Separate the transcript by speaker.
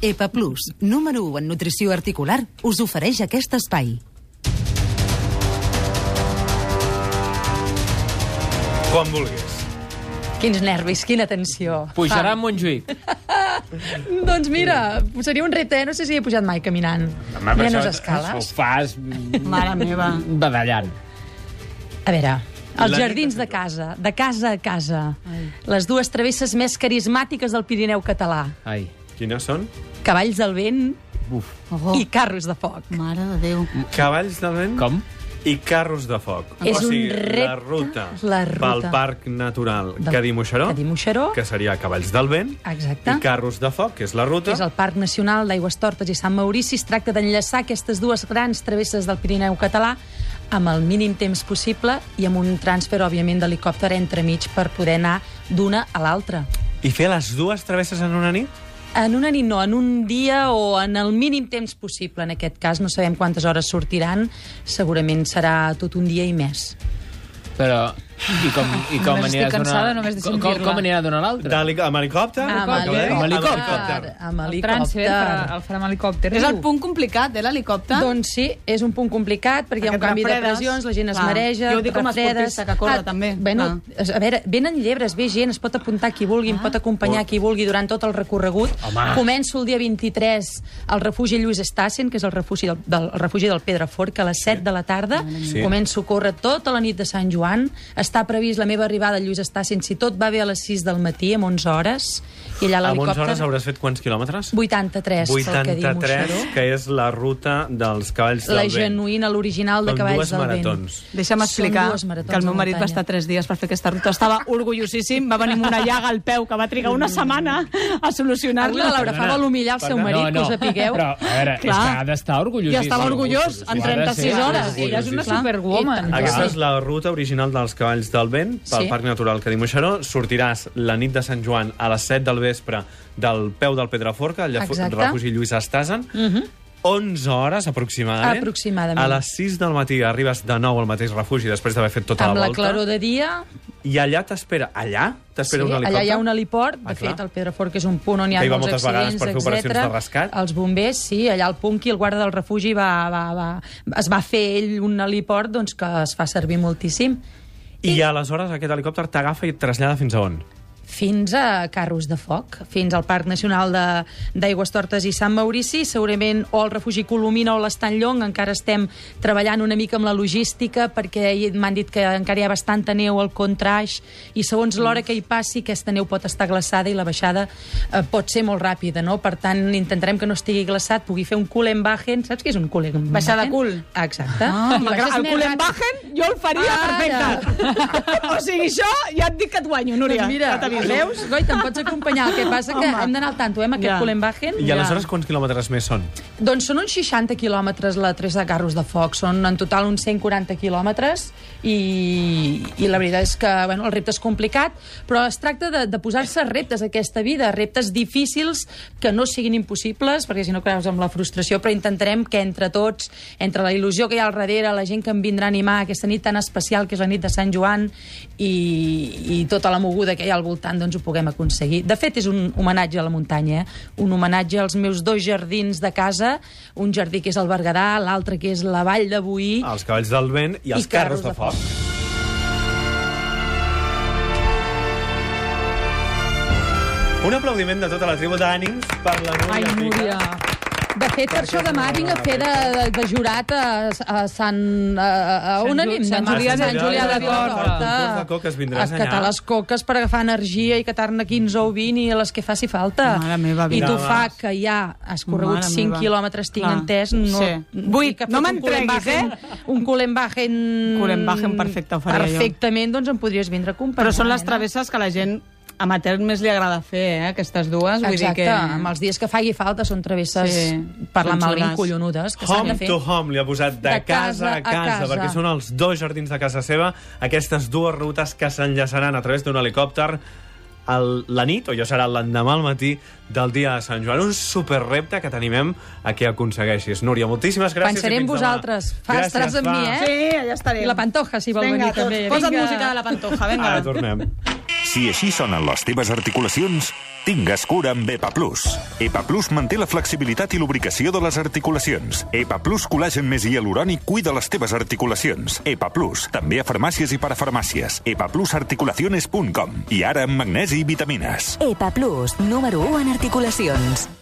Speaker 1: EPA E Plus, número 1 en nutrició articular, us ofereix aquest espai.
Speaker 2: Quan vulguis.
Speaker 3: Quins nervis, quina tensió.
Speaker 4: Pujarà a Montjuïc.
Speaker 3: Doncs mira, seria un repte, eh? no sé si he pujat mai caminant.
Speaker 2: Home, però
Speaker 3: Mirant les
Speaker 2: això-
Speaker 3: escales.
Speaker 4: Ho fas
Speaker 5: Mare meva.
Speaker 4: badallant.
Speaker 3: A veure, els
Speaker 2: La
Speaker 3: jardins de casa, de casa a casa, les dues travesses més carismàtiques del Pirineu català,
Speaker 4: Ai.
Speaker 2: Quines són?
Speaker 3: cavalls del vent
Speaker 4: Uf.
Speaker 5: Oh,
Speaker 3: i carros de foc.
Speaker 5: mare de Déu.
Speaker 2: Cavalls de vent
Speaker 4: Com?
Speaker 2: i carros de foc.
Speaker 3: És
Speaker 2: o sigui,
Speaker 3: un
Speaker 2: la
Speaker 3: repte,
Speaker 2: ruta,
Speaker 3: la ruta.
Speaker 2: pel Parc Natural
Speaker 3: Del-
Speaker 2: Cadí Moixeró,
Speaker 3: Cadí Moixeró.
Speaker 2: que seria Cavalls del Vent,
Speaker 3: Exacte.
Speaker 2: i Carros de Foc, que és la ruta.
Speaker 3: que és el Parc Nacional d'Aigües Tortes i Sant Maurici, es tracta d'enllaçar aquestes dues grans travesses del Pirineu català amb el mínim temps possible i amb un transfer, òbviament, d'helicòpter entremig per poder anar d'una a l'altra.
Speaker 2: I fer les dues travesses en una nit?
Speaker 3: En una nit no, en un dia o en el mínim temps possible, en aquest cas. No sabem quantes hores sortiran, segurament serà tot un dia i més.
Speaker 4: Però... I com, i com
Speaker 5: Només
Speaker 4: aniràs
Speaker 5: estic cansada només de
Speaker 4: com, com,
Speaker 5: sentir-la.
Speaker 4: com anirà d'una a l'altra?
Speaker 2: D'helic- Amb helicòpter?
Speaker 3: Amb
Speaker 2: Acabem?
Speaker 3: helicòpter.
Speaker 2: Amb
Speaker 4: helicòpter.
Speaker 3: Amb
Speaker 6: El transfer el, farà-
Speaker 3: helicòpter.
Speaker 6: el farà amb helicòpter.
Speaker 5: És el
Speaker 6: diu.
Speaker 5: punt complicat, eh, l'helicòpter?
Speaker 3: Doncs sí, és un punt complicat perquè hi ha un
Speaker 5: Perquè
Speaker 3: canvi de
Speaker 5: refredes.
Speaker 3: pressions, la gent es
Speaker 5: Clar.
Speaker 3: mareja,
Speaker 5: Jo ho dic com a
Speaker 3: refredes.
Speaker 5: esportista que corre, també.
Speaker 3: Bueno, a veure, venen llebres, ve gent, es pot apuntar qui vulgui,
Speaker 5: Ah.
Speaker 3: em pot acompanyar qui vulgui durant tot el recorregut.
Speaker 4: Home.
Speaker 3: Començo el dia 23 al refugi Lluís Estassen, que és el refugi del, del, el refugi del Pedrafort, que a les 7 de la tarda
Speaker 2: Sí.
Speaker 3: començo a córrer tota la nit de Sant Joan. Està previst la meva arribada a Lluís Estassen, si tot va bé, a les 6 del matí, amb 11 hores. I allà
Speaker 2: Amb 11 hores
Speaker 3: l'helicòpter...
Speaker 2: hauràs fet quants quilòmetres?
Speaker 3: 83, pel que diu
Speaker 2: 83,
Speaker 3: Moixeró.
Speaker 2: que és la ruta dels cavalls del
Speaker 3: La
Speaker 2: vent.
Speaker 3: genuïna, l'original de
Speaker 2: Són
Speaker 3: Cavalls
Speaker 2: dues
Speaker 3: del
Speaker 2: maratons.
Speaker 3: Vent.
Speaker 5: Deixa'm
Speaker 3: Són
Speaker 5: explicar
Speaker 3: dues maratons
Speaker 5: que el meu
Speaker 3: de
Speaker 5: marit va
Speaker 3: muntanya.
Speaker 5: estar tres dies per fer aquesta ruta. Estava orgullosíssim, va venir amb una llaga al peu que va trigar una setmana a
Speaker 3: Avui la
Speaker 5: solucionar-la.
Speaker 3: Laura Fa vol humillar el seu
Speaker 2: Perdona,
Speaker 3: marit, que us sapigueu.
Speaker 4: Però, a veure, és
Speaker 5: Clar.
Speaker 4: que ha d'estar orgullós.
Speaker 5: I estava orgullós en 36 hores.
Speaker 6: Ella és una
Speaker 5: Clar.
Speaker 6: superwoman.
Speaker 4: I tant.
Speaker 2: Aquesta és la ruta original dels Cavalls del Vent pel
Speaker 3: Sí.
Speaker 2: Parc Natural Cadí Moixeró. Sortiràs la nit de Sant Joan a les 7 del vespre del peu del Pedraforca, al llafo-
Speaker 3: Exacte. Mhm.
Speaker 2: refugi Lluís Estasen. 11 hores, aproximadament.
Speaker 3: Aproximadament.
Speaker 2: A les 6 del matí arribes de nou al mateix refugi després d'haver fet tota
Speaker 3: Amb
Speaker 2: la
Speaker 3: la
Speaker 2: volta.
Speaker 3: claror de dia,
Speaker 2: I allà t'espera. Allà? T'espera un helicòpter?
Speaker 3: allà hi ha un heliport. De
Speaker 2: Ah, clar.
Speaker 3: fet, el Pedrafort, que és un punt on hi ha
Speaker 2: Que hi va
Speaker 3: molts
Speaker 2: moltes vegades
Speaker 3: accidents,
Speaker 2: per fer operacions
Speaker 3: etcètera.
Speaker 2: de rescat.
Speaker 3: Els bombers, sí, allà al Punky, el guarda del refugi, va, va, va, es va fer ell un heliport doncs, que es fa servir moltíssim.
Speaker 2: I aleshores aquest helicòpter t'agafa i et trasllada fins a on?
Speaker 3: fins a Carros de Foc, fins al Parc Nacional de- d'Aigües Tortes i Sant Maurici, segurament o el refugi Colomina o l'Estany Llong, encara estem treballant una mica amb la logística perquè hi- m'han dit que encara hi ha bastanta neu al contraix i segons l'hora que hi passi aquesta neu pot estar glaçada i la baixada eh, pot ser molt ràpida, no? Per tant, intentarem que no estigui glaçat, pugui fer un Kulenbachen, saps què és un Kulenbachen?
Speaker 5: Baixar de cul.
Speaker 3: Exacte.
Speaker 5: Ah,
Speaker 3: I
Speaker 5: malgrat
Speaker 3: baixes
Speaker 5: el
Speaker 3: més
Speaker 5: cul
Speaker 3: ràpid.
Speaker 5: en bajen, jo el faria
Speaker 3: Ara.
Speaker 5: perfecte. O sigui, això ja et dic que et guanyo, Núria.
Speaker 3: Doncs mira,
Speaker 5: ja t'aviso.
Speaker 3: veus? Goita, em pots acompanyar. El que passa que
Speaker 5: Home.
Speaker 3: hem d'anar al tanto, eh, amb aquest
Speaker 5: Ja.
Speaker 3: ja. Kulenbachen.
Speaker 2: I aleshores quants quilòmetres més són?
Speaker 3: Doncs són uns 60 quilòmetres la Tres de Carros de Foc, són en total uns 140 quilòmetres i, i la veritat és que bueno, el repte és complicat, però es tracta de, de posar-se reptes a aquesta vida, reptes difícils que no siguin impossibles, perquè si no creus amb la frustració, però intentarem que entre tots, entre la il·lusió que hi ha al darrere, la gent que em vindrà a animar aquesta nit tan especial que és la nit de Sant Joan i, i tota la moguda que hi ha al voltant, doncs ho puguem aconseguir. De fet, és un homenatge a la muntanya, eh? un homenatge als meus dos jardins de casa, un jardí que és el Berguedà, l'altre que és la Vall de Boí.
Speaker 2: Els cavalls del vent i els
Speaker 3: I
Speaker 2: carros,
Speaker 3: carros
Speaker 2: de
Speaker 3: de
Speaker 2: foc. Un aplaudiment de tota la tribu d'ànims per la
Speaker 6: Ai,
Speaker 2: Núria. Pica.
Speaker 6: Núria.
Speaker 5: eh?
Speaker 3: De fet, per això demà vinc a fer de, de, de jurat a, a Sant... A, a
Speaker 6: Sant
Speaker 3: on
Speaker 6: Ju-
Speaker 3: anem?
Speaker 6: Sant Julià de- Sant Julià de
Speaker 2: Corta. Al Curs de Coques vindràs
Speaker 3: a catar
Speaker 2: allà.
Speaker 3: les coques per agafar energia i catar-ne 15 o 20 i les que faci falta.
Speaker 5: Mare meva,
Speaker 3: I tu
Speaker 2: Vinga,
Speaker 3: fa
Speaker 2: vas.
Speaker 3: que ja has corregut
Speaker 5: Mare
Speaker 3: 5
Speaker 5: meva.
Speaker 3: quilòmetres, tinc
Speaker 5: Clar,
Speaker 3: entès. No,
Speaker 5: sí.
Speaker 3: i
Speaker 5: Vuit,
Speaker 3: que ha fet
Speaker 5: no
Speaker 3: un
Speaker 5: m'entreguis,
Speaker 3: Kulenbachen- Un Kulenbachen...
Speaker 5: Kulenbachen perfecte, ho faria jo.
Speaker 3: Perfectament, doncs em podries vindre a eh? acompanyar.
Speaker 5: Però són les
Speaker 3: nena.
Speaker 5: travesses que la gent amateur més li agrada fer, eh, aquestes dues. Vull
Speaker 3: Exacte,
Speaker 5: dir que...
Speaker 3: amb els dies que faci falta són travesses
Speaker 5: Sí,
Speaker 3: sí, per la
Speaker 5: són
Speaker 3: malvin
Speaker 5: xules.
Speaker 3: collonudes que s'han
Speaker 2: Home
Speaker 3: de fer.
Speaker 2: to home li ha posat de,
Speaker 3: De
Speaker 2: casa, a casa,
Speaker 3: casa.
Speaker 2: perquè són els dos jardins de casa seva, aquestes dues rutes que s'enllaçaran a través d'un helicòpter el, la nit, o ja serà l'endemà al matí del dia de Sant Joan. Un superrepte que t'animem a que aconsegueixis. Núria, moltíssimes gràcies. i
Speaker 3: Pensaré en
Speaker 2: fins demà.
Speaker 3: vosaltres. Fa, estaràs amb mi, eh?
Speaker 5: Sí, allà estarem.
Speaker 3: I la Pantoja, si vol
Speaker 5: Vinga,
Speaker 3: venir,
Speaker 5: tots,
Speaker 3: també.
Speaker 5: Posa't
Speaker 3: Vinga.
Speaker 5: música de la Pantoja, vinga.
Speaker 2: Ara tornem.
Speaker 7: Si així sonen les teves articulacions, tingues cura amb EPA Plus. EPA Plus manté la flexibilitat i lubricació de les articulacions. EPA Plus col·lagen més hialurònic cuida les teves articulacions. EPA Plus, també a farmàcies i parafarmàcies. epaplusarticulaciones.com i ara amb magnesi i vitamines.
Speaker 8: EPA Plus, número 1 en articulacions.